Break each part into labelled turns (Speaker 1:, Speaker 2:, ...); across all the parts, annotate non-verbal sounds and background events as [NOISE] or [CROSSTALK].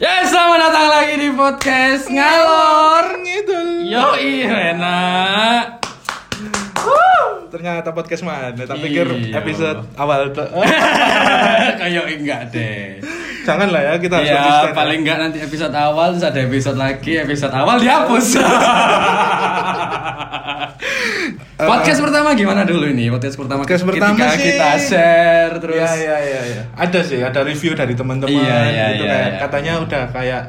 Speaker 1: Ya, selamat datang lagi di podcast Ngalor.
Speaker 2: ngidul.
Speaker 1: Yoi, enak. [LAUGHS]
Speaker 2: Ternyata podcast mana? Tak
Speaker 1: Iya.
Speaker 2: pikir episode awal
Speaker 1: [LAUGHS]
Speaker 2: tuh.
Speaker 1: Kayak enggak deh.
Speaker 2: Janganlah ya kita harus
Speaker 1: Ya,
Speaker 2: konsisten.
Speaker 1: paling enggak nanti episode awal terus ada episode lagi, episode awal
Speaker 2: [LAUGHS]
Speaker 1: dihapus.
Speaker 2: Eh.
Speaker 1: podcast pertama gimana dulu ini? Podcast pertama
Speaker 2: Podcast
Speaker 1: ketika
Speaker 2: pertama sih-
Speaker 1: kita share terus.
Speaker 2: Iya iya iya iya. Ada sih, ada review dari teman-teman
Speaker 1: Iya, iya,
Speaker 2: gitu
Speaker 1: iya,
Speaker 2: kayak
Speaker 1: iya.
Speaker 2: katanya udah kayak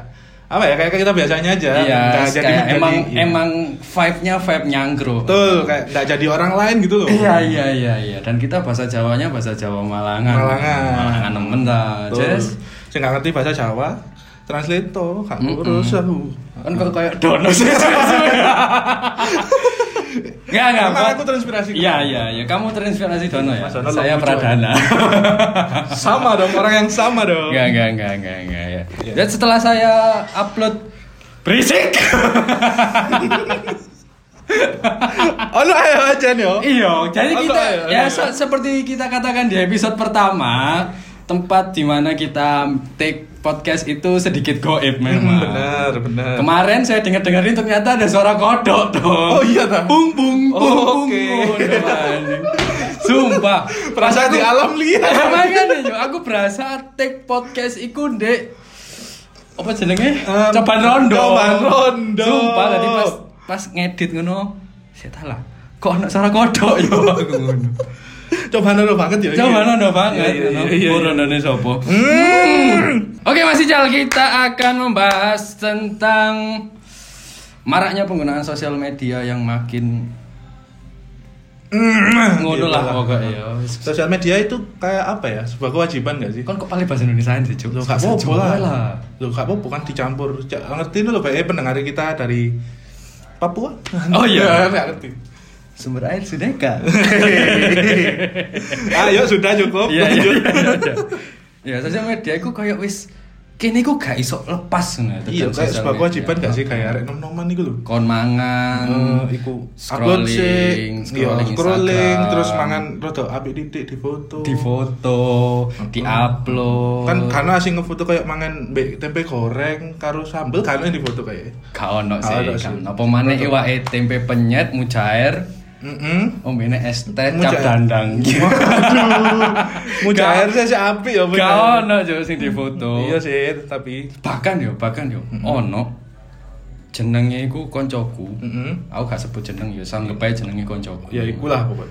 Speaker 2: apa ya kayak kita biasanya aja.
Speaker 1: Iya,
Speaker 2: Nggak
Speaker 1: kayak emang
Speaker 2: menjadi- iya.
Speaker 1: emang vibe-nya vibe nyangkru.
Speaker 2: betul kayak nggak jadi orang lain gitu loh.
Speaker 1: Iya iya iya iya dan kita bahasa Jawanya bahasa Jawa Malangan.
Speaker 2: Malangan.
Speaker 1: Malangan nemen ta,
Speaker 2: Betul.
Speaker 1: Jess.
Speaker 2: Saya nggak ngerti bahasa Jawa. Translate toh, gak urus aku.
Speaker 1: Kan kok kayak dono sih. Enggak enggak.
Speaker 2: Emang
Speaker 1: Pak.
Speaker 2: Nah, aku terinspirasi.
Speaker 1: Iya iya iya, kamu terinspirasi dono ya.
Speaker 2: Mas Dono
Speaker 1: Saya
Speaker 2: lucu. [LAUGHS]
Speaker 1: Pradana.
Speaker 2: sama dong, orang yang sama dong.
Speaker 1: Enggak enggak enggak enggak enggak ya.
Speaker 2: Iya.
Speaker 1: Dan setelah saya upload
Speaker 2: [LAUGHS]
Speaker 1: berisik.
Speaker 2: Oh lu ayo aja nih. oh.
Speaker 1: Iya, jadi
Speaker 2: Apa
Speaker 1: kita
Speaker 2: ya?
Speaker 1: ya se- seperti kita katakan di episode pertama, tempat dimana kita take podcast itu sedikit goib memang.
Speaker 2: Hmm, Benar, benar.
Speaker 1: Kemarin saya dengar-dengarin ternyata ada suara kodok dong.
Speaker 2: Oh iya, Tang.
Speaker 1: Bung bung bung. bung,
Speaker 2: Oh, oke.
Speaker 1: bung, dong, anjing. Sumpah.
Speaker 2: Perasaan di alam liar.
Speaker 1: [LAUGHS] Makanya yo aku berasa take podcast iku Dek. Apa jenenge?
Speaker 2: Em,
Speaker 1: Cobaan rondo.
Speaker 2: cobaan rondo.
Speaker 1: Sumpah tadi pas pas ngedit ngono, saya talah. Kok ana suara kodok yo
Speaker 2: [LAUGHS]
Speaker 1: aku ngono.
Speaker 2: Oh, Coba nol banget ya.
Speaker 1: Coba rondo banget.
Speaker 2: Iya, iya, iya, iya.
Speaker 1: Borondone sopo? Hmm. Oke, masih Jal kita akan membahas tentang maraknya penggunaan sosial media yang makin ngono lah pokoknya ya.
Speaker 2: Sosial media itu kayak apa ya? Sebuah kewajiban gak sih?
Speaker 1: Kon kok paling bahasa Indonesia sih, Cuk?
Speaker 2: Lo gak
Speaker 1: Bahasa
Speaker 2: apa-apa
Speaker 1: Jawa
Speaker 2: lah. Lo gak apa-apa kan dicampur. Ja- Ngerti lo Pak? Eh, pendengar kita dari Papua.
Speaker 1: Oh,
Speaker 2: [LAUGHS]
Speaker 1: iya.
Speaker 2: Gak ngerti.
Speaker 1: Sumber air [LAUGHS] Sudeka.
Speaker 2: Ayo Ah, ya sudah cukup.
Speaker 1: Iya, iya,
Speaker 2: lanjut.
Speaker 1: iya, iya. Ya, sosial media iku kayak wis kene iku gak iso lepas ngono. tekan
Speaker 2: Iya, kayak
Speaker 1: sosial
Speaker 2: sebuah
Speaker 1: media.
Speaker 2: kewajiban gak sih kayak arek nom-noman iku lho.
Speaker 1: Kon mangan,
Speaker 2: Eh, iku upload
Speaker 1: scrolling,
Speaker 2: sih. Iya,
Speaker 1: scrolling,
Speaker 2: scrolling
Speaker 1: Instagram,
Speaker 2: terus mangan rada apik titik di foto.
Speaker 1: di foto, di upload.
Speaker 2: kan karena asing ngefoto kayak mangan be- tempe goreng karo sambel kan yang difoto kayak
Speaker 1: gak ono sih,
Speaker 2: Gak ono
Speaker 1: gak
Speaker 2: sih.
Speaker 1: ono. Apa maneh iwake tempe penyet mujair, [LAUGHS]
Speaker 2: Mm-mm.
Speaker 1: ombene es teh cap
Speaker 2: Mujair. [LAUGHS]
Speaker 1: dandang.
Speaker 2: Mujair saya sih api ya
Speaker 1: [LAUGHS]
Speaker 2: bener.
Speaker 1: Gak ono Cuk, sing di foto.
Speaker 2: Iya sih, tapi
Speaker 1: bahkan yo bahkan yo ono jenenge iku koncoku
Speaker 2: Mm-mm.
Speaker 1: aku gak sebut jeneng yo sanggep ae jenenge koncoku
Speaker 2: ya ikulah pokoknya.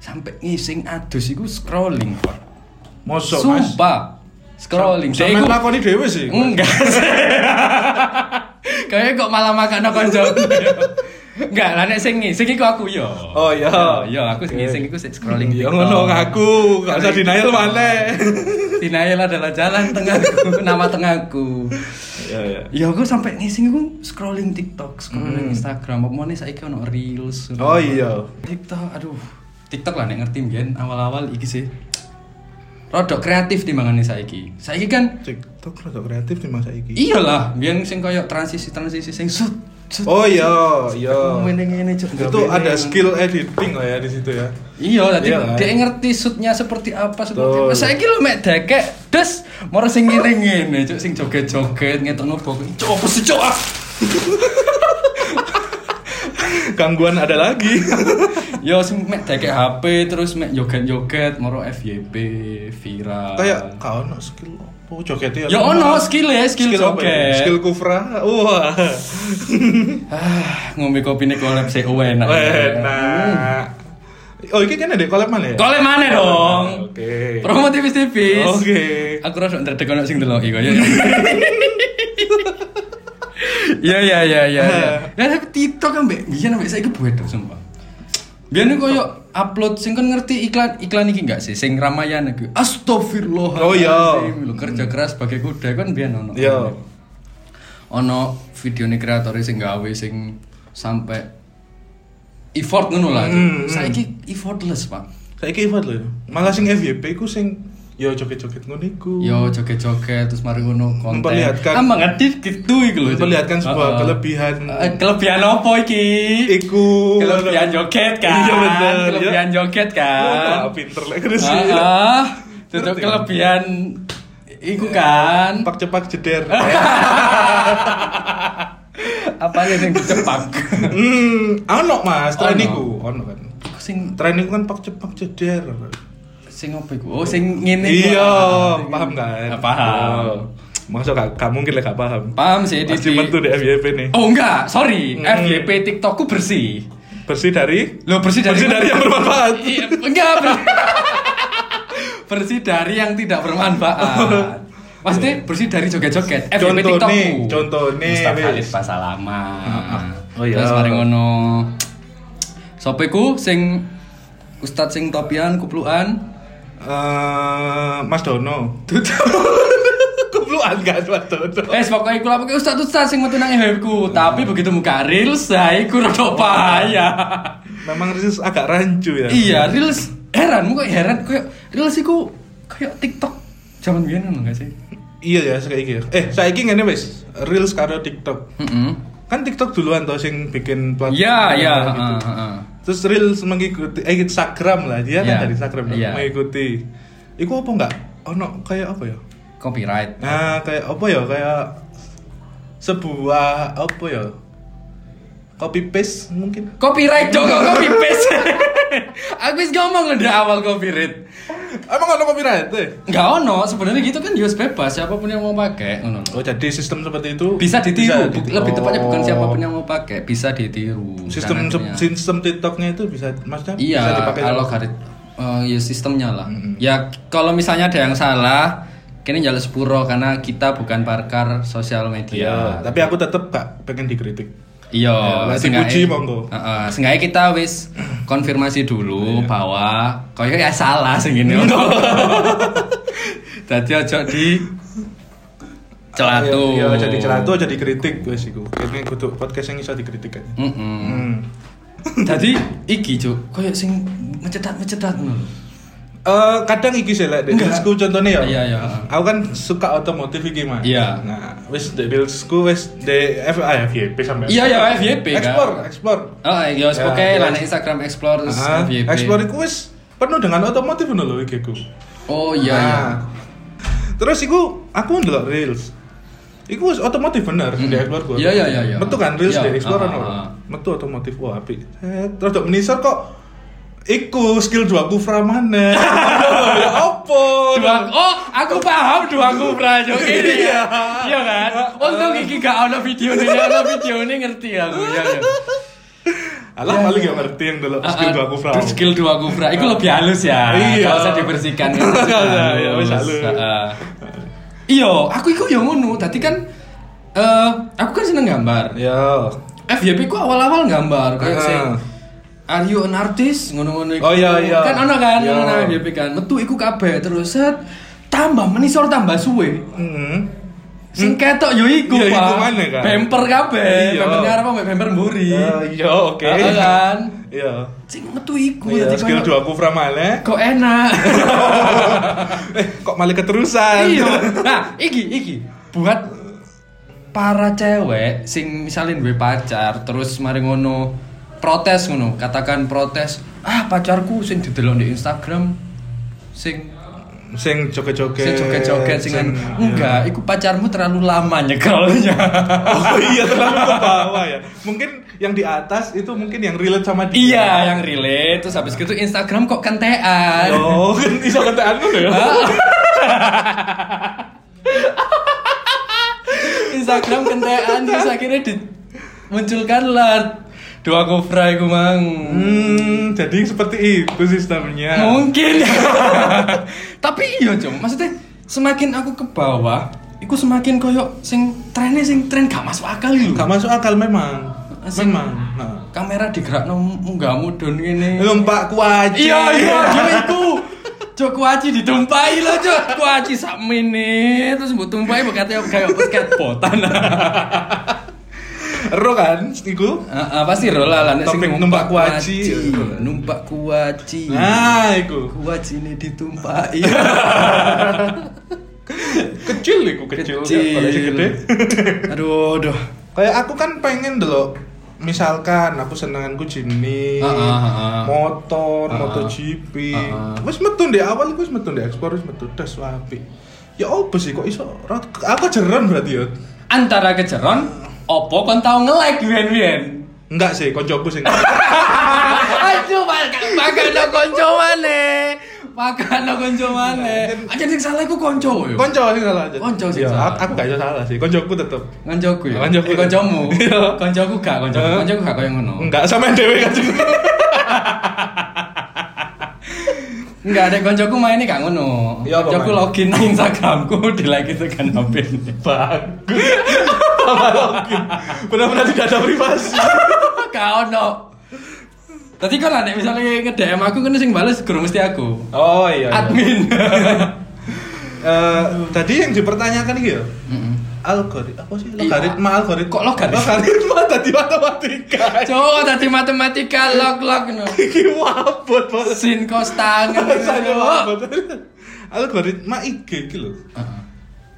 Speaker 1: sampai ngising adus iku scrolling Pak.
Speaker 2: Mosok Mas.
Speaker 1: sumpah scrolling Dia
Speaker 2: Sampeyan
Speaker 1: iku-
Speaker 2: lakoni dhewe sih.
Speaker 1: enggak [LAUGHS] sih kayaknya kok malah makan no koncoku yo. enggak lah nek sing ngising iku aku yo
Speaker 2: Oh, iya.
Speaker 1: yo aku sing ngising iku sik scrolling
Speaker 2: Ya
Speaker 1: TikTok.
Speaker 2: ngono ngaku, gak usah
Speaker 1: [LAUGHS]
Speaker 2: denial maneh.
Speaker 1: Denial adalah jalan tengahku [LAUGHS] nama tengahku
Speaker 2: Ya ya.
Speaker 1: Ya aku sampai ngising aku scrolling TikTok, scrolling Instagram, apa mana saiki ono reels. ono-
Speaker 2: Hmm. Oh iya.
Speaker 1: TikTok, aduh. TikTok lah nek ngerti mbiyen awal-awal iki sih. Rodok kreatif timbangane saiki. Saiki kan
Speaker 2: TikTok rada kreatif nih masa iki.
Speaker 1: iyalah, mbiyen sing koyo transisi-transisi sing sut. sut.
Speaker 2: Oh iya, iya.
Speaker 1: Ngene ngene cuk.
Speaker 2: Itu ada skill editing lah ya di situ
Speaker 1: [LAUGHS]
Speaker 2: ya.
Speaker 1: Iya, tadi
Speaker 2: Iya lah.
Speaker 1: dia ngerti shootnya seperti apa seperti apa.
Speaker 2: Betul.
Speaker 1: Saiki lho mek dekek, des moro sing ngene-ngene cuk sing joget-joget ngetokno bokong. Cuk apa sih cuk? ah?
Speaker 2: Gangguan ada lagi.
Speaker 1: Yo sing mek dekek HP terus mek joget-joget moro FYP viral.
Speaker 2: Kayak gak ono skill opo jogetnya.
Speaker 1: Yo ono skill ya, skill,
Speaker 2: apa ya?
Speaker 1: joget.
Speaker 2: Skill kufra.
Speaker 1: [LAUGHS]
Speaker 2: Wah.
Speaker 1: Ah, ngombe kopi nih kolab CEO enak.
Speaker 2: Enak. nah. Oh, iki kene dek collab mana ya?
Speaker 1: Kolab mana dong?
Speaker 2: Oke.
Speaker 1: Hmm. Promo tipis-tipis.
Speaker 2: Oke.
Speaker 1: Aku rasa ndredeg ono sing deloki kok ya. Ya ya ya ya. ya. [LAUGHS] Lah tapi TikTok ambek biyen ambek saiki buedok sumpah. Biyen iku koyo upload sing kan ngerti iklan iklan iki enggak sih sing Ramayana iku. Astagfirullah.
Speaker 2: Oh, iya.
Speaker 1: kerja keras sebagai kuda kan biyen ono.
Speaker 2: Iya.
Speaker 1: Ono videone kreatore sing gawe sing sampai effort ngono lah.
Speaker 2: Hmm, hmm.
Speaker 1: Saiki effortless, Pak.
Speaker 2: Saiki ifat lho. ya. Malah sing FYP ku sing yo joget-joget ngono iku.
Speaker 1: Yo joget-joget terus mari ngono konten.
Speaker 2: Memperlihatkan-
Speaker 1: ah mengedit gitu iku lho.
Speaker 2: Memperlihatkan sebuah
Speaker 1: Heeh.
Speaker 2: kelebihan.
Speaker 1: Eh, kelebihan apa iki?
Speaker 2: Iku.
Speaker 1: Kelebihan joget kan.
Speaker 2: Iya bener. ya. Iya,
Speaker 1: Kelebihan joget kan. Ah,
Speaker 2: Wah, pinter lek terus.
Speaker 1: Heeh. Terus
Speaker 2: Ngerti.
Speaker 1: kelebihan iku kan
Speaker 2: Cepak cepak jeder.
Speaker 1: [LAUGHS] apa aja yang dicepak
Speaker 2: Hmm, ono mas, tren
Speaker 1: Ono.
Speaker 2: iku, ono kan.
Speaker 1: Iku sing
Speaker 2: Tren iku kan pak cepak jeder.
Speaker 1: sing apa iku oh sing ngene iku.
Speaker 2: Iya,
Speaker 1: Ah,
Speaker 2: paham
Speaker 1: iku.
Speaker 2: kan?
Speaker 1: Ah, paham
Speaker 2: Masuk gak, gak mungkin lah gak paham.
Speaker 1: paham sih di
Speaker 2: Pasti mentu di FYP nih.
Speaker 1: oh enggak sorry
Speaker 2: Hmm.
Speaker 1: FYP TikTokku bersih
Speaker 2: Bersih dari
Speaker 1: lo bersih dari
Speaker 2: bersih dari yang bermanfaat.
Speaker 1: [LAUGHS] Iya, enggak ber- bersih dari yang tidak
Speaker 2: [LAUGHS]
Speaker 1: bermanfaat Maksudnya bersih dari joget-joget FYP
Speaker 2: Contoh
Speaker 1: TikTokku.
Speaker 2: nih, contoh nih,
Speaker 1: Mustafa
Speaker 2: wis.
Speaker 1: Khalid Pasalama
Speaker 2: Ah, ah. Oh iya.
Speaker 1: Terus mari ngono Sopeku sing Ustadz sing topian kupluan
Speaker 2: Eh, Mas Dono. [LAUGHS] Kupluan kan Mas Dono.
Speaker 1: Eh pokoknya iku lah pokoknya Ustadz Ustadz sing metu nang ku Tapi
Speaker 2: Ah.
Speaker 1: begitu muka reels saya iku rada payah
Speaker 2: [LAUGHS] Memang Risis agak rancu ya.
Speaker 1: Iya reels heran kok heran kayak reels iku kayak TikTok zaman biyen ngono gak sih?
Speaker 2: Iya ya saiki. Eh, saiki ngene wis, Reels karo TikTok.
Speaker 1: Heeh.
Speaker 2: Kan TikTok duluan toh sing bikin platform.
Speaker 1: Iya, iya,
Speaker 2: gitu.
Speaker 1: heeh, heeh.
Speaker 2: Terus Reels mengikuti eh Instagram lah, dia
Speaker 1: Iya,
Speaker 2: kan dari Instagram
Speaker 1: iya.
Speaker 2: mengikuti. Iku apa enggak? Ono kayak apa ya?
Speaker 1: Copyright.
Speaker 2: Nah, kayak apa ya? Kayak sebuah apa ya? Copy paste mungkin.
Speaker 1: Copyright [LAUGHS] Joko copy paste. Aku wis ngomong loh dari awal copyright.
Speaker 2: Emang ono copyright? Eh?
Speaker 1: Enggak ono, sebenarnya gitu kan US bebas siapapun yang mau pakai ngono.
Speaker 2: Oh, jadi sistem seperti itu
Speaker 1: Bisa ditiru, bu-
Speaker 2: ditiru.
Speaker 1: lebih tepatnya bukan
Speaker 2: Oh.
Speaker 1: siapapun yang mau pakai, bisa ditiru.
Speaker 2: sistem
Speaker 1: Karena akhirnya-
Speaker 2: sistem TikToknya itu bisa maksudnya
Speaker 1: Iya,
Speaker 2: Kan bisa dipakai
Speaker 1: kalau garis eh, ya sistemnya lah. Ya kalau misalnya ada yang salah, kini jalan sepuro karena kita bukan parkar sosial
Speaker 2: Iya,
Speaker 1: media.
Speaker 2: tapi aku tetap gak pengen dikritik.
Speaker 1: Iya,
Speaker 2: Ya, lah,
Speaker 1: seenggaknya-
Speaker 2: dipuji, monggo.
Speaker 1: Heeh, seenggaknya kita
Speaker 2: [CLEARS THROAT]
Speaker 1: wis konfirmasi
Speaker 2: Iya.
Speaker 1: dulu bahwa koyo ya salah sing ngene.
Speaker 2: [LAUGHS]
Speaker 1: Dadi aja di celatu.
Speaker 2: Iya, jadi celatu jadi kritik wes iku. Ini kudu podcast yang bisa dikritik kan.
Speaker 1: Heeh.
Speaker 2: Hmm.
Speaker 1: Dadi iki, Cuk, koyo sing mecetat-mecetat ngono.
Speaker 2: Eh, kadang iki sih lek di
Speaker 1: Enggak.
Speaker 2: reelsku contohnya ya.
Speaker 1: Iya, iya.
Speaker 2: Aku kan suka otomotif iki, Mas.
Speaker 1: Iya.
Speaker 2: Nah, wis di reelsku wis di F ah, FYP sampai.
Speaker 1: Iya, ya FYP kan.
Speaker 2: Explore, explore.
Speaker 1: Oh, iya,
Speaker 2: Ya,
Speaker 1: oke
Speaker 2: iya.
Speaker 1: lah nek Instagram explore terus
Speaker 2: Ah,
Speaker 1: FYP.
Speaker 2: Explore iku wis penuh dengan otomotif ngono lho iki ku.
Speaker 1: Oh iya, iya.
Speaker 2: Nah, Terus iku aku ndelok reels. Iku wis otomotif bener di Explore gua.
Speaker 1: Iya, iya, iya, iya.
Speaker 2: Metu kan reels
Speaker 1: Iya,
Speaker 2: di Explore
Speaker 1: ah,
Speaker 2: ono.
Speaker 1: ah, ah.
Speaker 2: Metu otomotif wah apik. Eh, terus dok menisor kok iku skill dua ku
Speaker 1: [LAUGHS]
Speaker 2: mana? ya opo?
Speaker 1: Dua, oh, aku paham dua kubra Cuk. ini
Speaker 2: [LAUGHS] Iya. ah.
Speaker 1: ya. Iya kan? Untung iki gak ono videone, nek ono videone ngerti aku ya. ya.
Speaker 2: Alah paling gak ngerti yang dulu skill dua ku
Speaker 1: Ah, Terus Skill dua kubra, itu lebih halus ya.
Speaker 2: Iya.
Speaker 1: Gak usah
Speaker 2: [LAUGHS]
Speaker 1: dibersihkan. ya.
Speaker 2: Iya, iya, wis halus.
Speaker 1: Heeh. Iya, aku iku ya ngono. Tadi kan eh aku kan seneng gambar.
Speaker 2: Ya.
Speaker 1: FYP ku awal-awal gambar kayak
Speaker 2: Ah.
Speaker 1: sing Are you an artist? Ngono-ngono iku.
Speaker 2: Oh, iya, iya.
Speaker 1: Kan ono kan
Speaker 2: Iya.
Speaker 1: ngono nang FYP kan. Metu iku kabeh terus set tambah menisor tambah suwe.
Speaker 2: Heeh.
Speaker 1: Sing ketok yo iku,
Speaker 2: Hmm. Iya,
Speaker 1: Pak.
Speaker 2: iku mana kan?
Speaker 1: Bemper kabeh,
Speaker 2: Iya.
Speaker 1: bemper ngarep mbek bemper mburi.
Speaker 2: Iya, oke.
Speaker 1: Heeh kan.
Speaker 2: Iya.
Speaker 1: Sing metu iku
Speaker 2: Iya,
Speaker 1: dadi
Speaker 2: skill
Speaker 1: koyo-
Speaker 2: dua ku
Speaker 1: [LAUGHS]
Speaker 2: mana?
Speaker 1: Kok enak.
Speaker 2: [LAUGHS] Eh, kok malah keterusan.
Speaker 1: iya. Nah, iki iki buat para cewek sing misalnya duwe pacar terus mari ngono protes ngono, katakan protes, ah pacarku sing didelok di Instagram sing
Speaker 2: Sing joget-joget.
Speaker 1: sing joget-joget sing anu." iya.
Speaker 2: sing- iya.
Speaker 1: enggak, iku pacarmu terlalu lama nyekelnya.
Speaker 2: Oh iya terlalu ke bawah ya. Mungkin yang di atas itu mungkin yang relate sama dia.
Speaker 1: [LAUGHS] iya, yang relate terus habis gitu Instagram kok kentean.
Speaker 2: Oh, kan iso kentekan ngono ya.
Speaker 1: [LAUGHS] Instagram kentean terus akhirnya dimunculkan lah dua kufra iku mang.
Speaker 2: Hmm, jadi seperti itu sistemnya.
Speaker 1: Mungkin. [LAUGHS] Tapi iya, Jom. Maksudnya semakin aku ke bawah, iku semakin koyo sing trennya sing tren gak masuk akal lho.
Speaker 2: Gak masuk akal memang.
Speaker 1: Sing-
Speaker 2: Memang. Nah.
Speaker 1: Kamera digerakno munggah mudun ngene.
Speaker 2: Lompak kuaci.
Speaker 1: Iya, iya, Jom iku. Cok kuaci ditumpahi lho, Cok. Kuaci sak menit terus mbok tumpahi mbok kate kayak skateboardan.
Speaker 2: Ero kan iku.
Speaker 1: Heeh, pasti rola lah nek sing
Speaker 2: Topik numpak kuaci.
Speaker 1: numpak kuaci.
Speaker 2: Nah, iku.
Speaker 1: Kuaci ini ditumpahi. [LAUGHS]
Speaker 2: Kecil iku kecil. Kalau sing gede.
Speaker 1: aduh, aduh.
Speaker 2: Kayak aku kan pengen dulu misalkan aku senenganku jenis
Speaker 1: Ah, ah, ah, ah.
Speaker 2: motor,
Speaker 1: Ah, ah.
Speaker 2: MotoGP.
Speaker 1: Ah, ah.
Speaker 2: Wis metu ndek awal iku wis metu ndek ekspor wis metu tes wapi. ya apa sih kok iso ra- aku jeren berarti ya
Speaker 1: Antara kejeron, opo kon tau nge-like biyen-biyen.
Speaker 2: enggak sih koncoku sing
Speaker 1: Aduh, makana konco maneh. Makana konco maneh. Aja sing salah iku konco yo.
Speaker 2: konco sing salah aja
Speaker 1: Konco sing
Speaker 2: Ya,
Speaker 1: salah.
Speaker 2: aku- aku gak iso salah sih koncoku tetep
Speaker 1: Koncoku yo.
Speaker 2: Ah, Koncoku.
Speaker 1: Eh, koncomu.
Speaker 2: [LAUGHS] Iya.
Speaker 1: Koncoku gak, koncoku.
Speaker 2: Eh.
Speaker 1: Koncoku gak koyo ngono.
Speaker 2: enggak sama dewe kan [LAUGHS]
Speaker 1: Enggak ada koncoku mainnya gak ngono.
Speaker 2: Iya, apa
Speaker 1: Koncoku
Speaker 2: main?
Speaker 1: login nang Instagramku [LAUGHS] di like kan tekan HP. -ne.
Speaker 2: bagus Sama login. benar-benar tidak ada privasi
Speaker 1: [LAUGHS] Gak ono. Tadi kan ada misalnya nge-DM aku kan sing bales guru mesti aku.
Speaker 2: oh iya, iya. [LAUGHS]
Speaker 1: Admin. [LAUGHS]
Speaker 2: Eh, tadi yang dipertanyakan gitu
Speaker 1: Mm-mm.
Speaker 2: algoritma apa sih
Speaker 1: Iya.
Speaker 2: logaritma algoritma
Speaker 1: Kok logaritma?
Speaker 2: logaritma tadi matematika
Speaker 1: Cowok tadi matematika log log no.
Speaker 2: iki wabot bos
Speaker 1: Sin kos
Speaker 2: [LAUGHS]
Speaker 1: tangan.
Speaker 2: Rasanya
Speaker 1: no.
Speaker 2: wabot. algoritma IG gitu loh
Speaker 1: Heeh.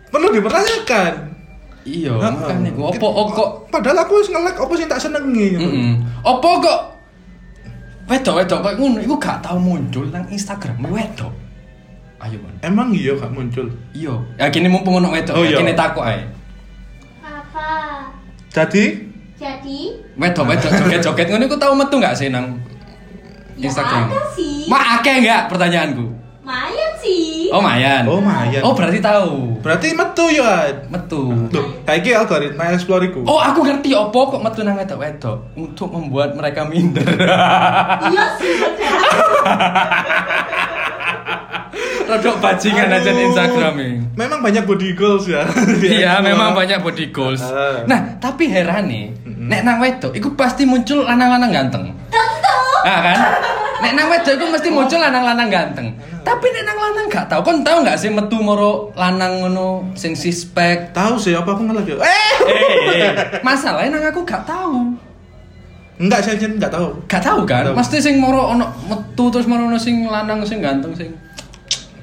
Speaker 2: perlu dipertanyakan
Speaker 1: Ah, Iya,
Speaker 2: Heeh.
Speaker 1: makane ku opo oh, kok
Speaker 2: padahal aku wis nge-like apa sih tak senengi gitu.
Speaker 1: Heeh. Opo kok wedok wedok kok ngono iku gak tau muncul nang Instagram wedok. Ayo, Bon.
Speaker 2: emang iya gak muncul
Speaker 1: Iya, ya kini mumpung ono wedok,
Speaker 2: Oh,
Speaker 1: ya
Speaker 2: iya.
Speaker 1: kini takok ae.
Speaker 3: Apa?
Speaker 2: jadi
Speaker 3: Jadi?
Speaker 1: Wedok wedok joget-joget ngono iku tau metu gak sih nang Instagram?
Speaker 3: Ya ada sih.
Speaker 1: Ma akeh enggak pertanyaanku?
Speaker 3: Mayan sih.
Speaker 1: Oh, Mayan.
Speaker 2: oh mayan
Speaker 1: Oh, berarti tahu.
Speaker 2: berarti metu ya
Speaker 1: Metu.
Speaker 2: tuh kayak gini algoritma explore iku
Speaker 1: Oh, aku ngerti opo kok metu nang wedok-wedok untuk membuat mereka minder. [LAUGHS]
Speaker 3: Iya sih bener.
Speaker 1: Rodok bajingan aja di
Speaker 2: Aduh.
Speaker 1: Instagram ini.
Speaker 2: memang banyak body goals ya Di
Speaker 1: Iya,
Speaker 2: explore.
Speaker 1: memang banyak body goals.
Speaker 2: Ah.
Speaker 1: Nah, tapi heran nih,
Speaker 2: Mm-mm.
Speaker 1: nek nang wedok iku pasti muncul lanang-lanang ganteng.
Speaker 3: Tentu.
Speaker 1: Ah kan? Nek nang wedok iku mesti muncul lanang-lanang ganteng. Tapi nek nang lanang gak tau, kon tau gak sih metu moro lanang ngono sing sispek.
Speaker 2: tahu sih apa aku nge-like ya eh
Speaker 1: Masalahnya nang aku gak tahu.
Speaker 2: enggak saya jen enggak tahu
Speaker 1: Gak tahu kan?
Speaker 2: Tahu.
Speaker 1: Mesti sing moro ono metu terus moro ono sing lanang sing ganteng sing.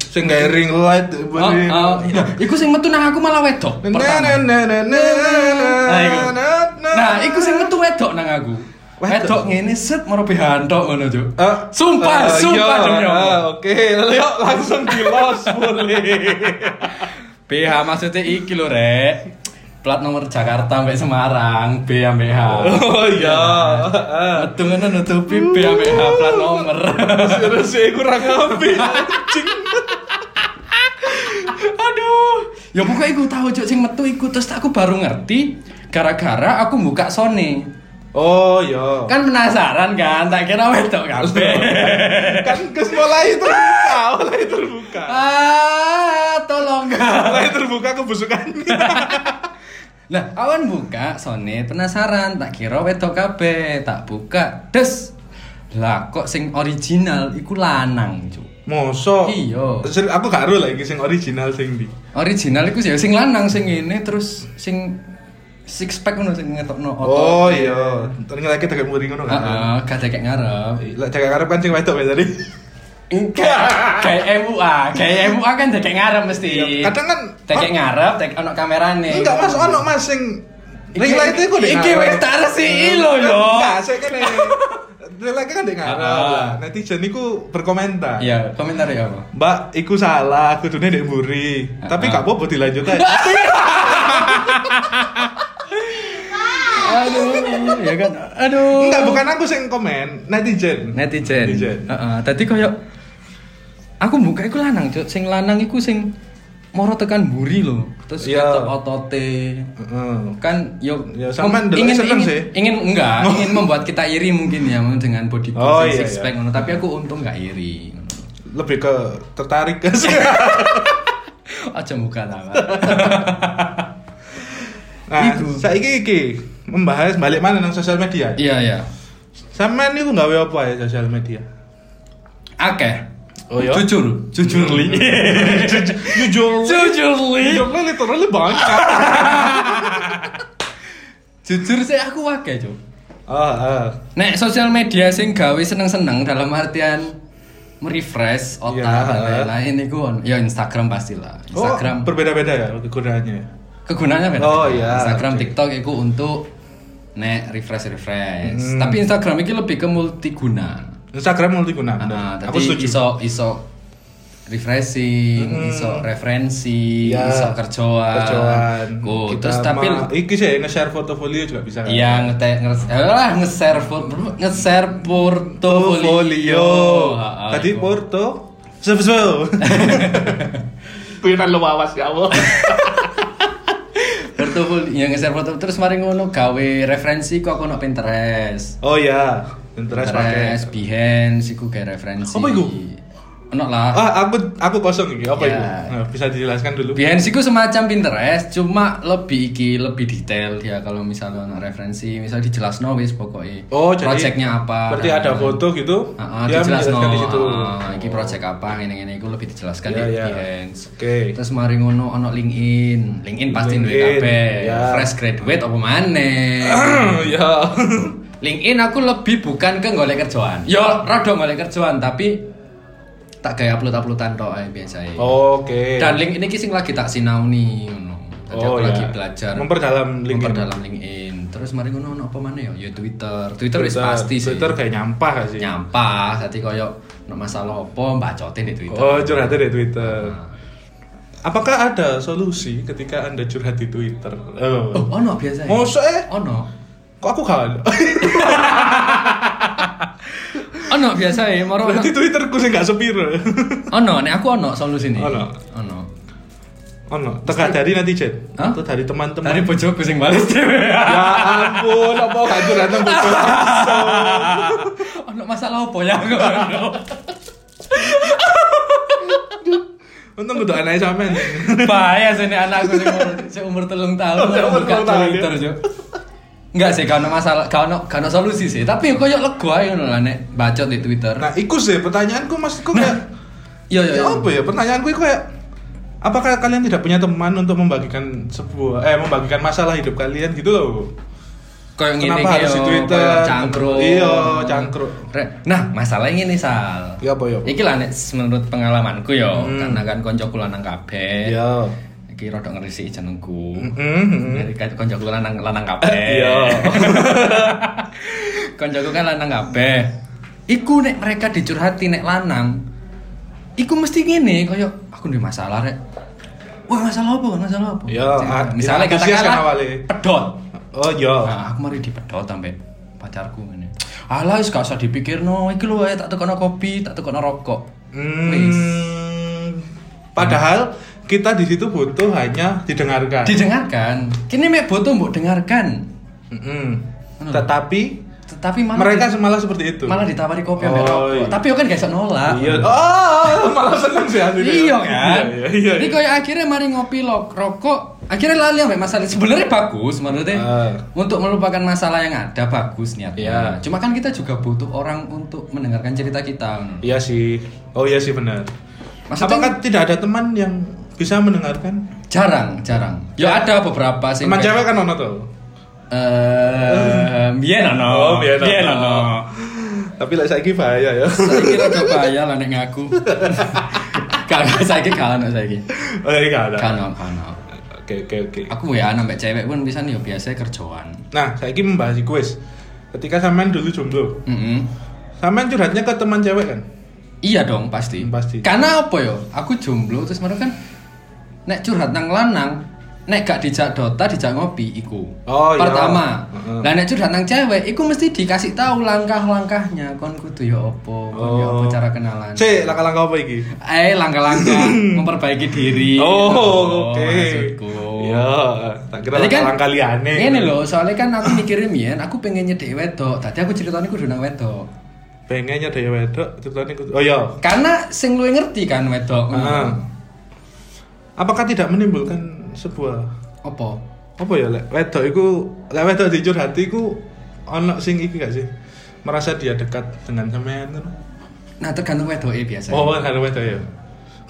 Speaker 2: sing garing light
Speaker 1: Oh, oh, iya. iku sing metu nang aku malah wedok.
Speaker 2: nah,
Speaker 1: pertama. Nah, iku. Nah, iku sing metu wedok nang aku.
Speaker 2: Wedok?
Speaker 1: Wedok ngene set moro behantok ngono, Cuk.
Speaker 2: Eh,
Speaker 1: Sumpah,
Speaker 2: eh,
Speaker 1: sumpah
Speaker 2: iya,
Speaker 1: demi Allah.
Speaker 2: eh, Oke, lalu yuk langsung di los boleh.
Speaker 1: BH maksudnya iki lho, Rek. Plat nomor Jakarta sampai Semarang, B sampai H.
Speaker 2: Oh iya.
Speaker 1: Metu ngono nutupi B sampai H plat nomor. [LAUGHS]
Speaker 2: Terus sih kurang api. anjing.
Speaker 1: Aduh. Ya pokoknya aku tahu Cuk sing metu iku terus aku baru ngerti gara-gara aku buka Sony.
Speaker 2: Oh iya.
Speaker 1: Kan penasaran kan, tak kira wedok
Speaker 2: [LAUGHS]
Speaker 1: kabeh.
Speaker 2: Kan ke mulai terbuka, mulai terbuka.
Speaker 1: ah, tolong gak.
Speaker 2: Mulai terbuka kebusukannya.
Speaker 1: Lah, awan buka Sony penasaran, tak kira wedok kabeh, tak buka. Des. Lah kok sing original iku lanang, Cuk.
Speaker 2: Moso.
Speaker 1: Iya.
Speaker 2: Seri- Aku gak ero lagi sing original sing di.
Speaker 1: Original iku sih sing lanang sing ini terus sing six pack ngono sing ngetokno otot.
Speaker 2: Oh iya. Ternyata kita kayak muri ngono kan.
Speaker 1: Heeh, gak ada kayak ngarep.
Speaker 2: Lah cakak karep kan sing wedok ya tadi.
Speaker 1: Enggak, kayak MUA, kayak MUA kan tekek ngarep mesti.
Speaker 2: Iya, kadang kan-
Speaker 1: tekek ngarep, tekek ono kamerane.
Speaker 2: Enggak mas, ono mas sing ring
Speaker 1: Eh, iya. Iki-
Speaker 2: light iku dek
Speaker 1: iki
Speaker 2: ngarep. Iya,
Speaker 1: wis tak resiki lho, yo.
Speaker 2: Enggak, saya kan eh, ring light kan dek ngarep
Speaker 1: Ah.
Speaker 2: lah. Netizen iku berkomentar.
Speaker 1: Iya, komentar ya apa?
Speaker 2: Mbak, iku salah, kudune dek mburi.
Speaker 1: Ah, ah.
Speaker 2: Tapi gak apa-apa dilanjut
Speaker 1: [LAUGHS]
Speaker 2: aja.
Speaker 1: Aduh, ya kan. Aduh.
Speaker 2: iya Enggak, bukan aku sing komen, netizen.
Speaker 1: netizen.
Speaker 2: Netizen.
Speaker 1: Heeh, tadi koyo aku buka iku lanang, Cuk. Sing lanang iku sing moro tekan buri lho. Terus
Speaker 2: Iya.
Speaker 1: ketok otote.
Speaker 2: Heeh.
Speaker 1: Kan yo
Speaker 2: Ya, sampean
Speaker 1: mem-
Speaker 2: ndelok
Speaker 1: ingin
Speaker 2: seneng
Speaker 1: ingin,
Speaker 2: sih.
Speaker 1: ingin enggak,
Speaker 2: [LAUGHS]
Speaker 1: ingin membuat kita iri mungkin ya dengan body
Speaker 2: Oh,
Speaker 1: sing
Speaker 2: iya,
Speaker 1: six
Speaker 2: iya.
Speaker 1: pack ngono, tapi aku untung enggak iri. [LAUGHS]
Speaker 2: Lebih ke tertarik [LAUGHS] ke sih.
Speaker 1: Aja buka tangan.
Speaker 2: [LAUGHS] Nah,
Speaker 1: Iku.
Speaker 2: saiki iki membahas balik mana nang sosial media.
Speaker 1: Iya, iya.
Speaker 2: Sampean niku nggawe apa ya sosial
Speaker 1: [LAUGHS]
Speaker 2: media?
Speaker 1: Akeh.
Speaker 2: Oh, iya?
Speaker 1: Jujur, jujur li.
Speaker 2: Jujur.
Speaker 1: [LAUGHS] jujur li.
Speaker 2: Jujur literally banyak.
Speaker 1: Jujur sih aku akeh, Cuk.
Speaker 2: Ah, ah.
Speaker 1: Nek sosial media sing gawe seneng-seneng dalam artian merefresh otak
Speaker 2: Ya.
Speaker 1: dan lain-lain itu on ya Instagram pastilah. Instagram
Speaker 2: Oh, berbeda-beda ya kegunaannya.
Speaker 1: kegunaannya beda.
Speaker 2: Oh, ya.
Speaker 1: Instagram,
Speaker 2: Oke.
Speaker 1: TikTok itu untuk nek refresh refresh.
Speaker 2: Hmm.
Speaker 1: Tapi Instagram ini lebih ke multiguna. Ah,
Speaker 2: Instagram multiguna.
Speaker 1: Nah,
Speaker 2: benar. aku
Speaker 1: tadi
Speaker 2: setuju.
Speaker 1: iso iso refreshing,
Speaker 2: Hmm.
Speaker 1: iso referensi,
Speaker 2: Ya.
Speaker 1: iso kerjaan.
Speaker 2: kerjaan
Speaker 1: Ku,
Speaker 2: Kita
Speaker 1: terus tapi
Speaker 2: ma- iki sih nge-share portofolio juga bisa kan?
Speaker 1: Iya ngetek nge- alah nge-share por- nge-share portofolio.
Speaker 2: portofolio
Speaker 1: Ah, ah,
Speaker 2: tadi
Speaker 1: iku.
Speaker 2: porto
Speaker 1: [LAUGHS]
Speaker 2: sebesar
Speaker 4: Pikiran lu awas ya Allah.
Speaker 1: portofolio ya nge-share portofolio terus mari ngono gawe referensi kok aku ono Pinterest.
Speaker 2: oh ya interest pakai
Speaker 1: Pinterest, Behance iku gawe referensi.
Speaker 2: Apa iku?
Speaker 1: Ono lah.
Speaker 2: ah aku aku kosong ini apa
Speaker 1: Ya.
Speaker 2: itu Nah, bisa dijelaskan dulu
Speaker 1: Behance itu semacam Pinterest, cuma lebih iki lebih detail dia kalau misalnya ono referensi, misal dijelas wis pokoknya.
Speaker 2: Oh, jadi
Speaker 1: projectnya apa?
Speaker 2: berarti ada foto gitu
Speaker 1: Heeh,
Speaker 2: dia
Speaker 1: dijelasno.
Speaker 2: menjelaskan di situ
Speaker 1: Heeh, iki project apa ngene-ngene iku lebih dijelaskan
Speaker 2: Ya,
Speaker 1: di
Speaker 2: ya.
Speaker 1: Behance.
Speaker 2: Oke.
Speaker 1: kan Terus mari ngono ono LinkedIn. LinkedIn pasti duwe
Speaker 2: LinkedIn,
Speaker 1: kabeh.
Speaker 2: ya.
Speaker 1: Fresh graduate apa
Speaker 2: [COUGHS]
Speaker 1: maneh. [LAUGHS]
Speaker 2: ya
Speaker 1: LinkedIn aku lebih bukan ke golek kerjaan. Yo, rada golek kerjaan tapi tak gaya upload-uploadan tok ae biasae.
Speaker 2: oke
Speaker 1: Dan LinkedIn ini sing lagi tak sinauni ngono. Tadi
Speaker 2: Oh,
Speaker 1: aku
Speaker 2: ya.
Speaker 1: lagi belajar
Speaker 2: Memperdalam LinkedIn.
Speaker 1: Memperdalam LinkedIn. Terus mari ngono ono apa maneh yo? Ya Twitter. Twitter wis
Speaker 2: Twitter-
Speaker 1: pasti sih
Speaker 2: Twitter kayak nyampah gak sih
Speaker 1: nyampah tadi koyo no masalah opo bacotin di Twitter.
Speaker 2: oh curhatnya di Twitter
Speaker 1: Nah.
Speaker 2: apakah ada solusi ketika anda curhat di Twitter oh.
Speaker 1: Oh, ono biasanya.
Speaker 2: Mosok eh?
Speaker 1: Ono.
Speaker 2: kok aku kalah
Speaker 1: Ono biasanya, moro ono.
Speaker 2: berarti Twitterku sih gak sepiro
Speaker 1: Ono, nek aku ono solusine.
Speaker 2: Ono.
Speaker 1: Ono.
Speaker 2: oh no teka dari netizen
Speaker 1: Hah?
Speaker 2: atau dari teman-teman
Speaker 1: Tadi bojoku sing bales dhewe.
Speaker 2: ya ampun apa gak curhat
Speaker 1: [LAUGHS]
Speaker 2: nang bocor
Speaker 1: Ono masalah opo ya aku.
Speaker 2: untung udah anaknya sampean
Speaker 1: Bahaya sih nek anakku sing umur- sing umur telung tahun
Speaker 2: Oh, sing
Speaker 1: malah
Speaker 2: umur
Speaker 1: buka
Speaker 2: telung tahun, ya.
Speaker 1: Twitter, Jo. Enggak sih, gak ono masalah, gak ono, gak ono solusi sih. Tapi koyo lego ae ngono lah nek bacot di Twitter.
Speaker 2: nah iku sih pertanyaanku maksudku kayak
Speaker 1: Nah, Iya, iya,
Speaker 2: ya
Speaker 1: iya.
Speaker 2: apa ya pertanyaanku itu kayak apakah kalian tidak punya teman untuk membagikan sebuah eh membagikan masalah hidup kalian gitu loh
Speaker 1: Kayak ngene
Speaker 2: Kenapa
Speaker 1: iki yo,
Speaker 2: harus di Twitter?
Speaker 1: kayak cangkruk.
Speaker 2: Iya, cangkruk.
Speaker 1: Re- Nah, masalahnya ini Sal.
Speaker 2: Ya apa, ya apa?
Speaker 1: Iki lah nek menurut pengalamanku yo,
Speaker 2: Hmm.
Speaker 1: karena kan koncoku lanang kabeh.
Speaker 2: Iya.
Speaker 1: Iki rada ngerisi jenengku.
Speaker 2: Mm-mm, mm-mm.
Speaker 1: Dari kan koncoku lanang lanang kabeh.
Speaker 2: Mm-hmm. [LAUGHS] Iya.
Speaker 1: [LAUGHS] koncoku kan lanang kabeh. Iku nek mereka dicurhati nek lanang, iku mesti ngene koyo aku duwe masalah rek. Wah, masalah apa? Masalah apa?
Speaker 2: Iya, ah,
Speaker 1: misalnya
Speaker 2: iya, antusias kan
Speaker 1: katakanlah
Speaker 2: awalnya.
Speaker 1: pedot.
Speaker 2: oh iya
Speaker 1: Nah, aku mari dipedot sampe pacarku ngene. Alah wis gak usah dipikirno, iki lho ae tak tekono kopi, tak tekono rokok.
Speaker 2: Hmm,
Speaker 1: Wis.
Speaker 2: padahal kita di situ butuh hanya didengarkan
Speaker 1: Didengarkan. Kini mek butuh mbok dengarkan.
Speaker 2: Mm-mm.
Speaker 1: Ngono.
Speaker 2: tetapi
Speaker 1: Tetapi malah
Speaker 2: mereka malah seperti itu
Speaker 1: malah ditawari kopi ambek
Speaker 2: Oh,
Speaker 1: rokok.
Speaker 2: iya.
Speaker 1: Tapi yo kan gak iso nolak.
Speaker 2: iya oh [LAUGHS] malah seneng sih aslinya.
Speaker 1: Iya kan?
Speaker 2: iya iya,
Speaker 1: Jadi
Speaker 2: iya.
Speaker 1: koyo akhirnya mari ngopi lo rokok, akhirnya lali ambek masalah. Sebenarnya bagus menurutnya.
Speaker 2: Ah.
Speaker 1: Untuk melupakan masalah yang ada bagus niatnya.
Speaker 2: Iya.
Speaker 1: Cuma kan kita juga butuh orang untuk mendengarkan cerita kita.
Speaker 2: Iya sih oh iya sih benar
Speaker 1: Maksudnya-
Speaker 2: apakah tidak ada teman yang bisa mendengarkan
Speaker 1: Jarang, jarang. Ya ada beberapa sih.
Speaker 2: teman
Speaker 1: kayak-
Speaker 2: cewek kan ono tuh
Speaker 1: Eh, biyen
Speaker 2: Oh,
Speaker 1: ono.
Speaker 2: biyen ono.
Speaker 1: Biyen ono.
Speaker 2: tapi lek saiki bahaya
Speaker 1: [LAUGHS]
Speaker 2: ya
Speaker 1: Saiki rada bahaya lah nek
Speaker 2: [LAUGHS]
Speaker 1: ngaku. Gak saiki gak ono saiki.
Speaker 2: oh iya gak ada
Speaker 1: Gak ono, gak ono.
Speaker 2: oke oke oke
Speaker 1: Aku ya nambah cewek pun bisa nih ya, biasa kerjaan.
Speaker 2: nah saiki membahas kuis ketika sampean dulu jomblo
Speaker 1: Mm-mm.
Speaker 2: sampean curhatnya ke teman cewek kan
Speaker 1: Iya dong pasti.
Speaker 2: Hmm, pasti.
Speaker 1: Karena apa yo? Aku jomblo terus mereka kan nek curhat nang lanang, nek gak dijak dota dijak ngopi iku.
Speaker 2: Oh, iya.
Speaker 1: Pertama.
Speaker 2: Heeh.
Speaker 1: Lah nek curhat nang cewek iku mesti dikasih tahu langkah-langkahnya kon kudu yo opo, kon yo opo cara kenalan.
Speaker 2: C, Oh. langkah-langkah apa iki?
Speaker 1: Eh langkah-langkah
Speaker 2: [LAUGHS]
Speaker 1: memperbaiki diri. Gitu,
Speaker 2: Oh, oke.
Speaker 1: Iya, Maksudku.
Speaker 2: Iya, tak kira
Speaker 1: Tadi kan-
Speaker 2: langkah-langkah liane.
Speaker 1: Ini loh, soalnya kan aku mikirin Mian, aku pengen nyedek wedok. Tadi aku ceritanya kudu nang wedok.
Speaker 2: Pengennya ada wedok, ceritanya ikut. Oh iya.
Speaker 1: Karena sing luwih ngerti kan wedok.
Speaker 2: Heeh. Apakah tidak menimbulkan sebuah
Speaker 1: Apa?
Speaker 2: apa ya lek wedok iku lek wedok dicurhati iku ono sing iki gak sih? Merasa dia dekat dengan sampean. ngono.
Speaker 1: Nah, tergantung wedoknya biasanya.
Speaker 2: Oh, ada wedok ya.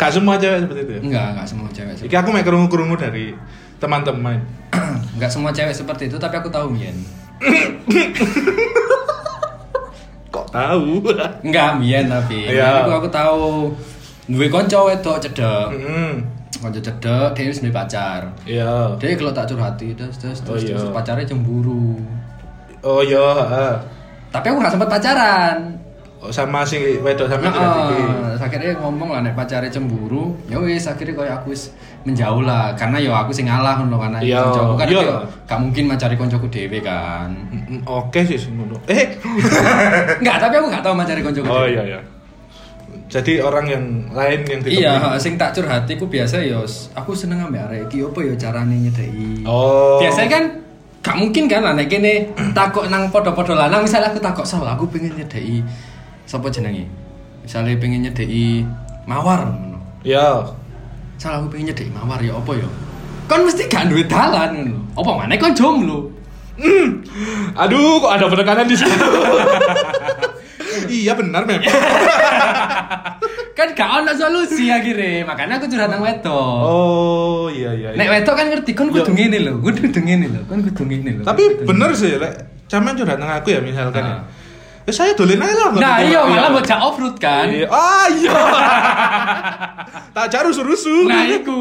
Speaker 2: Gak semua cewek seperti itu ya.
Speaker 1: Enggak, enggak semua cewek seperti [CLEARS THROAT]
Speaker 2: Iki aku mek kerungu-kerungu dari teman-teman.
Speaker 1: Enggak semua cewek seperti itu, tapi aku tahu Mian.
Speaker 2: Kok
Speaker 1: [LAUGHS]
Speaker 2: tahu?
Speaker 1: Enggak, Mian tapi.
Speaker 2: Iya.
Speaker 1: Aku aku tahu duwe kanca wedok cedek.
Speaker 2: Heeh.
Speaker 1: Kanca cedek, dia wis duwe pacar.
Speaker 2: Iya.
Speaker 1: Dia kalau tak curhati terus terus
Speaker 2: Oh,
Speaker 1: terus,
Speaker 2: iya.
Speaker 1: terus pacarnya cemburu.
Speaker 2: Oh iya, heeh.
Speaker 1: Tapi aku gak sempet pacaran.
Speaker 2: Oh, sama si wedok sampe
Speaker 1: Ah.
Speaker 2: dilihat iki.
Speaker 1: Heeh, akhirnya ngomong lah nek pacare cemburu, ya wis akhirnya koyo aku wis menjauh lah karena ya aku sing ngalah ngono kan
Speaker 2: Iya,
Speaker 1: koncoku kan
Speaker 2: iya.
Speaker 1: yo gak mungkin macari koncoku dhewe
Speaker 2: [LAUGHS]
Speaker 1: kan.
Speaker 2: Mm, Oke sih sing ngono.
Speaker 1: [LAUGHS]
Speaker 2: Eh.
Speaker 1: Enggak, tapi aku gak tau macari koncoku.
Speaker 2: Oh
Speaker 1: dhewe.
Speaker 2: iya iya. Jadi orang yang lain yang ditemui.
Speaker 1: Iya, heeh, sing tak curhati ku biasa yo s- aku seneng ambek arek iki opo yo carane nyedeki.
Speaker 2: Oh.
Speaker 1: Biasanya kan gak mungkin kan lah nek kene takok nang podo-podo lanang misalnya aku takok salah aku pengen nyedeki sapa jenenge? Misalnya pengen nyedeki mawar ngono.
Speaker 2: Iya.
Speaker 1: salah aku pengen nyedek mawar ya apa ya kan mesti gak duwe dalan ngono apa mana kan jomblo
Speaker 2: Hmm. Aduh, kok ada penekanan di situ. iya benar memang.
Speaker 1: kan gak ono solusi akhirnya makanya aku curhat nang wedok
Speaker 2: Oh iya iya. iya.
Speaker 1: nek wedok kan ngerti kan kudu ngene lho kudu kudu ngene lho kan kudu ngene lho
Speaker 2: Tapi
Speaker 1: kudu
Speaker 2: bener sih, lek sampean curhat nang aku ya misalkan ya.
Speaker 1: Ah.
Speaker 2: Ya saya dolen aja lah.
Speaker 1: ngene. nah iya malah bocah off road kan
Speaker 2: Iya. Ah iya.
Speaker 1: [LAUGHS]
Speaker 2: tak jaru rusuh
Speaker 1: nah iku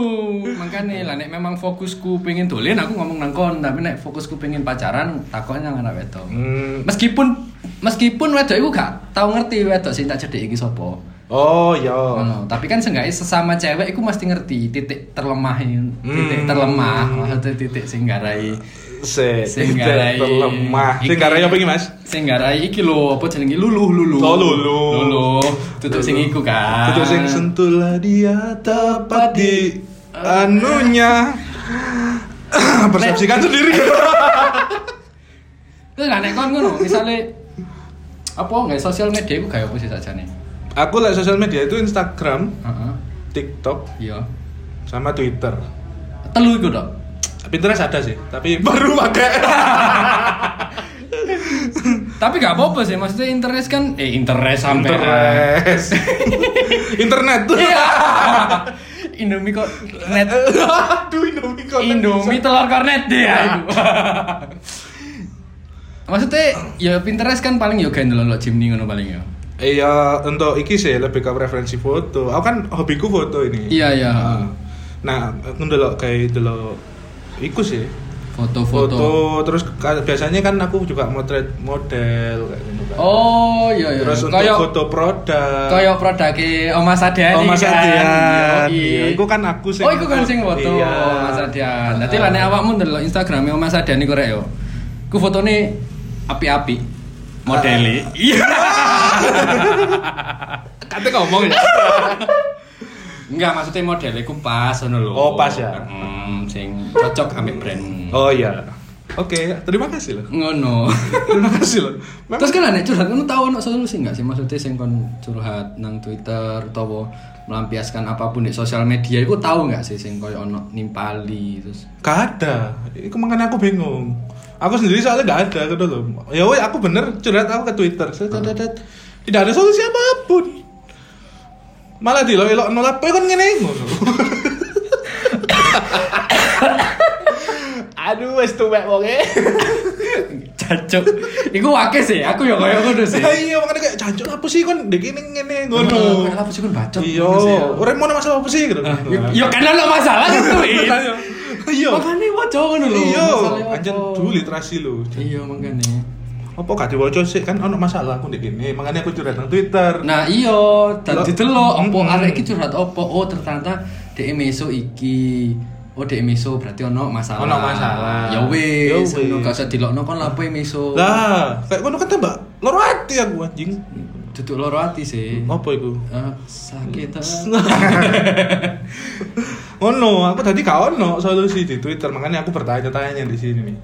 Speaker 1: makanya lah nek memang fokusku pengen dolen aku ngomong nang kon tapi nek fokusku pengen pacaran takoknya nang anak wedok
Speaker 2: Hmm.
Speaker 1: meskipun meskipun wedok iku gak tau ngerti wedok sing tak cedeki iki sapa
Speaker 2: Oh iya.
Speaker 1: Ngono. tapi kan seenggaknya sesama cewek iku mesti ngerti titik terlemah titik
Speaker 2: Hmm.
Speaker 1: terlemah maksudnya titik sing garai
Speaker 2: Se,
Speaker 1: sing garai
Speaker 2: tidak terlemah. Sing
Speaker 1: Iki-
Speaker 2: garai apa iki, Mas?
Speaker 1: sing garai iki lho apa jenenge luluh luluh
Speaker 2: Oh, luluh.
Speaker 1: luluh tutup sing iku kan
Speaker 2: Itu sing sentuhlah dia tepat di anunya. Ah, Persepsikan sendiri.
Speaker 1: Kuwi gak nek kon ngono misale apa nggak sosial media iku gawe apa sih sajane
Speaker 2: Aku lihat sosial media itu Instagram,
Speaker 1: heeh
Speaker 2: TikTok,
Speaker 1: iya
Speaker 2: sama Twitter.
Speaker 1: telu iku tok
Speaker 2: Pinterest ada sih, tapi [LAUGHS] baru pakai.
Speaker 1: tapi gak apa-apa sih maksudnya interest kan eh interest sampai [LAUGHS]
Speaker 2: Pinterest. Internet.
Speaker 1: iya [LAUGHS] Indomie kok
Speaker 2: [LAUGHS]
Speaker 1: net
Speaker 2: Aduh, Indomie kok.
Speaker 1: Indomie telur kornet deh ya. itu. [LAUGHS] Maksudnya ya Pinterest kan paling ya gawe ndelok Jimny ngono paling ya.
Speaker 2: Iya, untuk iki sih lebih ke preferensi foto. Aku kan hobiku foto ini.
Speaker 1: Iya, iya.
Speaker 2: Nah, Nah, aku ndelok kayak ndelok iku sih.
Speaker 1: Foto-foto.
Speaker 2: terus ka- biasanya kan aku juga motret model kayak gitu kan.
Speaker 1: Oh iya iya.
Speaker 2: terus untuk
Speaker 1: Kayak-
Speaker 2: foto produk.
Speaker 1: Kayak produknya Oma Sadian
Speaker 2: Oh, Mas Adian. Iya,
Speaker 1: Iya,
Speaker 2: iku kan aku sing
Speaker 1: Oh, iku kan sing foto
Speaker 2: Iya.
Speaker 1: Oma Sadian. Dadi lah nek awakmu ndelok Instagram Oma Sadian iku rek yo. Ku fotone api-api. Modele. [LAUGHS] Iya.
Speaker 2: Kate ngomong ya.
Speaker 1: Enggak, maksudnya modelnya ku pas ngono lho.
Speaker 2: Oh, pas ya?
Speaker 1: Hmm, sing cocok ambek brandmu.
Speaker 2: Oh iya. Oke, terima kasih loh.
Speaker 1: ngono
Speaker 2: Terima kasih loh. Memang-
Speaker 1: terus kan nek curhat kamu tahu ono solusi nggak sih maksudnya sing kon curhat nang Twitter atau melampiaskan apapun di sosial media iku tahu nggak sih sing koyo ono nimpali
Speaker 2: [LAUGHS]
Speaker 1: terus
Speaker 2: Gak ada. Itu makanya aku bingung. Aku sendiri soalnya gak ada gitu loh. Ya weh, aku bener curhat aku ke Twitter. Set, set, set, set. Tidak ada solusi apapun. Malah di lo elok nolak kan ngene ngono.
Speaker 4: Aduh, wes tuwek wonge.
Speaker 1: cacok iku wake sih aku ya koyo ngono sih
Speaker 2: Ya iya makanya kayak jancuk apa sih kon dek ini ngene ngono.
Speaker 1: ngono apa sih kon bacot
Speaker 2: Iya,
Speaker 1: ngono sih ya.
Speaker 2: ora mau masalah apa sih gitu.
Speaker 1: Ya- ya kan ono masalah kan tuh Id.
Speaker 2: Iya.
Speaker 1: makane waca ngono lho
Speaker 2: Iya,
Speaker 1: masalahnya
Speaker 2: anjen
Speaker 1: apa.
Speaker 2: dulu literasi lo.
Speaker 1: iya makane
Speaker 2: Apa gak diwaca sih kan ono masalah aku ndek kene, makanya aku curhat nang Twitter.
Speaker 1: Nah iya, dan
Speaker 2: Lo-
Speaker 1: didelok opo
Speaker 2: Mm-mm.
Speaker 1: arek iki curhat opo. Oh, ternyata dhek meso iki. Oh, dhek meso berarti ono masalah.
Speaker 2: Ono masalah.
Speaker 1: Ya
Speaker 2: Ya
Speaker 1: wis,
Speaker 2: wis.
Speaker 1: ngono gak usah dilokno kon lapo e meso.
Speaker 2: Lah, kayak ngono kan tambah loro hati aku anjing.
Speaker 1: Duduk loro ati sih.
Speaker 2: Apa iku?
Speaker 1: Eh, sakit. ah.
Speaker 2: [LAUGHS] Ono, aku tadi gak ono solusi di Twitter, makanya aku bertanya-tanya di sini nih.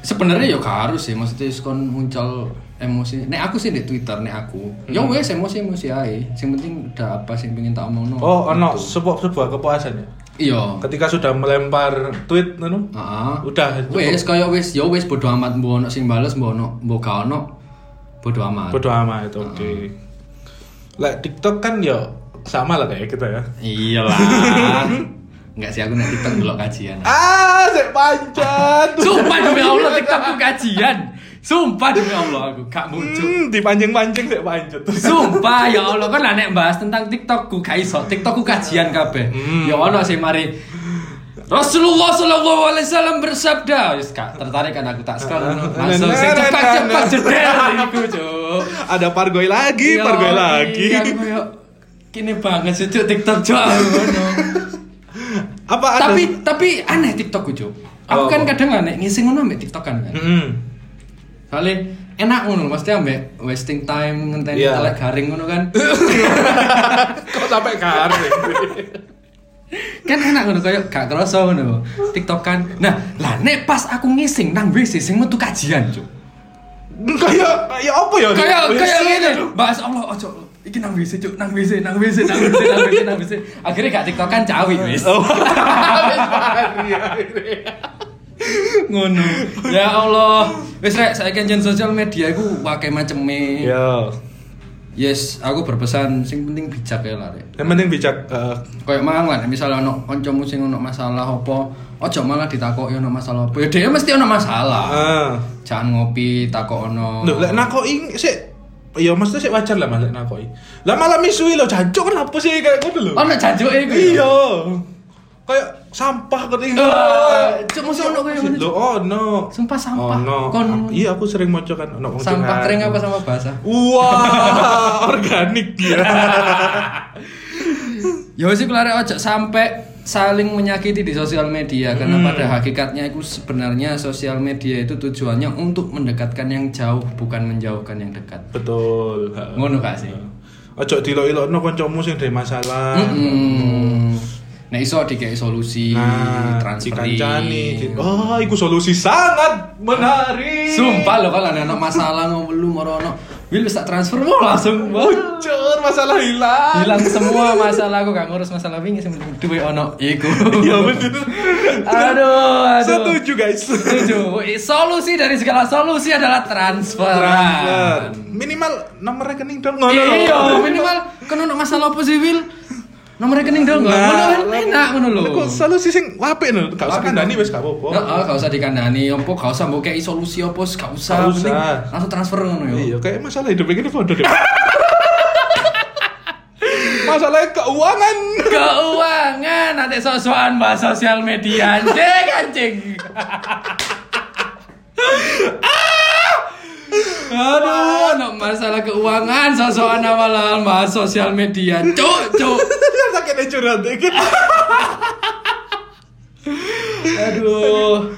Speaker 1: Sebenarnya ya gak harus sih, maksudnya wis kon muncul emosi. Nek aku sih di Twitter nek aku. Ya wis emosi-emosi ae. Sing penting udah apa sing pengen tak omongno.
Speaker 2: Oh, ono
Speaker 1: gitu.
Speaker 2: sebuah sebuah kepuasan ya.
Speaker 1: Iya.
Speaker 2: Ketika sudah melempar tweet ngono.
Speaker 1: Heeh.
Speaker 2: Udah, cukup.
Speaker 1: Wis kaya wis ya wis bodo amat mbok ono sing bales mbok ono mbok gak ono bodo amat.
Speaker 2: Bodoh amat itu oke.
Speaker 1: Ah.
Speaker 2: Lah TikTok kan ya sama lah kayak kita ya.
Speaker 1: Iyalah. Enggak sih aku nek TikTok delok kajian.
Speaker 2: Ah, sik
Speaker 1: [LAUGHS]
Speaker 2: panjat.
Speaker 1: Sumpah demi Allah TikTokku kajian. Sumpah demi Allah aku gak muncul.
Speaker 2: Hmm, dipancing-pancing sik panjat.
Speaker 1: Sumpah ya Allah kan lah nek bahas tentang TikTokku gak iso. TikTokku kajian kabeh. Ya ono sih mari Rasulullah Shallallahu Alaihi Wasallam bersabda, wis kak tertarik kan aku tak sekarang langsung sing cepat cepat jeder iku, Cuk. cuk.
Speaker 2: Ada pargoy lagi,
Speaker 1: Iya,
Speaker 2: pargoy lagi.
Speaker 1: iya, aku kayak, Kini banget sih cuk TikTok
Speaker 2: [LAUGHS]
Speaker 1: cuk. aku ngono.
Speaker 2: Apa ada?
Speaker 1: tapi tapi aneh TikTok ku cuk. Aku
Speaker 2: Oh, Apa? Hmm.
Speaker 1: kan kadang aneh ngisi ngono ambek TikTok kan. kan.
Speaker 2: Mm-mm.
Speaker 1: Soalnya enak ngono mesti ambek wasting time ngenteni
Speaker 2: Iya.
Speaker 1: telek garing ngono
Speaker 2: [LAUGHS]
Speaker 1: kan.
Speaker 2: Kok sampai garing?
Speaker 1: kan enak ngono kayak gak kerasa ngono. TikTok kan. Nah, lah nek pas aku ngising nang WC sing metu kajian cuk.
Speaker 2: Kayak kayak apa ya?
Speaker 1: kayak kayak
Speaker 2: Sih,
Speaker 1: gini oh,
Speaker 2: aduh.
Speaker 1: bahas Allah ojo iki nang WC cuk nang WC nang WC nang WC nang WC nang WC akhirnya gak tiktokan cawi wis [LAUGHS]
Speaker 2: Oh. Iya,
Speaker 1: ngono ya Allah wis rek saya kan sosial media iku wakai maceme
Speaker 2: Ya.
Speaker 1: yes aku berpesan sing penting bijak ya lah rek
Speaker 2: Yang penting bijak eh,
Speaker 1: kayak mangan lah misalnya ono kancamu sing ono masalah apa ojo malah ditakoki ono masalah apa ya dia mesti ono masalah
Speaker 2: ah.
Speaker 1: jangan ngopi takok ono
Speaker 2: Loh, lek nakoi sik ya mesti sik wajar lah Mas lek nakoi. Lah malah misui lo jancuk kenapa sih kayak gitu lho?
Speaker 1: ono janjuke iku ya?
Speaker 2: Iya. Kayak sampah kok iki.
Speaker 1: Ah, cuk, mesti ono kayak ngono, cuk.
Speaker 2: Lho, ono.
Speaker 1: Sumpah sampah.
Speaker 2: Ono.
Speaker 1: Kon-
Speaker 2: Iya, aku sering moco kan ono wong
Speaker 1: sampah
Speaker 2: Cina.
Speaker 1: kering apa sama basah
Speaker 2: Wah, [LAUGHS] organik iya. dia.
Speaker 1: Ya sih kelare ojo sampai saling menyakiti di sosial media karena
Speaker 2: Hmm.
Speaker 1: pada hakikatnya itu sebenarnya sosial media itu tujuannya untuk mendekatkan yang jauh bukan menjauhkan yang dekat.
Speaker 2: Betul. ha.
Speaker 1: Ngono gak sih?
Speaker 2: Ojo dilok-ilokno kancamu sing dari masalah.
Speaker 1: Mm-mm. Nah iso dikei solusi
Speaker 2: Nah,
Speaker 1: transferin.
Speaker 2: dikancani. di- Oh, iku solusi sangat menarik.
Speaker 1: Sumpah lo kalau ada anak masalah ngomong lu merono, wil bisa transfer mau langsung wah.
Speaker 2: Bocor masalah hilang.
Speaker 1: hilang semua masalah aku gak ngurus masalah wingi sing penting duwe ono iku.
Speaker 2: Iya bener.
Speaker 1: Aduh, aduh.
Speaker 2: Setuju guys.
Speaker 1: Setuju. Solusi dari segala solusi adalah
Speaker 2: Transfer.
Speaker 1: transferan.
Speaker 2: Minimal nomor rekening dong ngono lho.
Speaker 1: Iya, minimal kan ono masalah apa sih Wil? Nomor rekening dong,
Speaker 2: Nah,
Speaker 1: ngono kan enak ngono lho.
Speaker 2: Iku solusi sing apik lho. Gak usah
Speaker 1: Apik.
Speaker 2: kandani wis gak
Speaker 1: Nah,
Speaker 2: apa-apa.
Speaker 1: ah, gak usah dikandani, opo gak usah mbok kei solusi opo, gak usah.
Speaker 2: Gak
Speaker 1: Yang penting
Speaker 2: usah.
Speaker 1: Langsung transfer ngono yo.
Speaker 2: Iya, kayak masalah hidup ini bodoh
Speaker 1: [LAUGHS]
Speaker 2: deh. masalah keuangan.
Speaker 1: Keuangan nanti sosokan bahas sosial media anjing anjing. Ah! Aduh, anak masalah keuangan sosokan awal-awal bahas sosial media. Cuk,
Speaker 2: [LAUGHS]
Speaker 1: cuk.
Speaker 2: Sakitnya curhat deh.
Speaker 1: Aduh.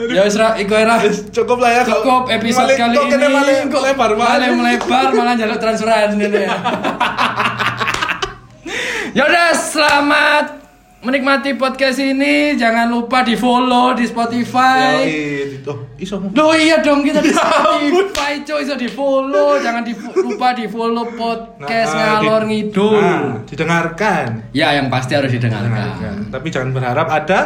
Speaker 1: Ya wis ra, iku ae, Ra.
Speaker 2: [LAUGHS] Cukup lah ya. kalau-
Speaker 1: Cukup episode
Speaker 2: Maling-
Speaker 1: kali
Speaker 2: kok kena
Speaker 1: ini.
Speaker 2: maling
Speaker 1: Kok
Speaker 2: lebar
Speaker 1: malah
Speaker 2: maling.
Speaker 1: melebar malah jalur transferan
Speaker 2: [LAUGHS]
Speaker 1: ini. Ya udah, selamat menikmati podcast ini. Jangan lupa di follow di Spotify.
Speaker 2: Yoi. Ya Oh, iso ngomong.
Speaker 1: Loh iya dong
Speaker 2: [LAUGHS]
Speaker 1: kita di Spotify coy bisa di follow jangan di lupa di follow podcast
Speaker 2: Nah,
Speaker 1: ngalor
Speaker 2: di-
Speaker 1: ngidul
Speaker 2: Nah, didengarkan.
Speaker 1: ya yang pasti harus
Speaker 2: Didengarkan.
Speaker 1: didengarkan
Speaker 2: Tapi jangan berharap ada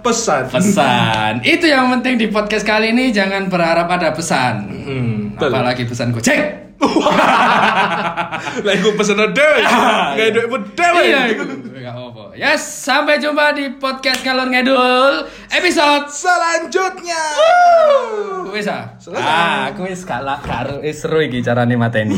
Speaker 2: pesan.
Speaker 1: pesan itu yang penting di podcast kali ini jangan berharap ada pesan
Speaker 2: Hmm, betul.
Speaker 1: apalagi pesan gojek
Speaker 2: [LAUGHS] Lah iku
Speaker 1: [LAUGHS]
Speaker 2: pesan ada. Enggak duit pedhe.
Speaker 1: iya gak apa yes sampai jumpa di podcast ngalor ngidul episode
Speaker 2: Selanjutnya.
Speaker 1: wis ah
Speaker 2: Selesai.
Speaker 1: ah aku wis gak lakar wis seru iki carane mateni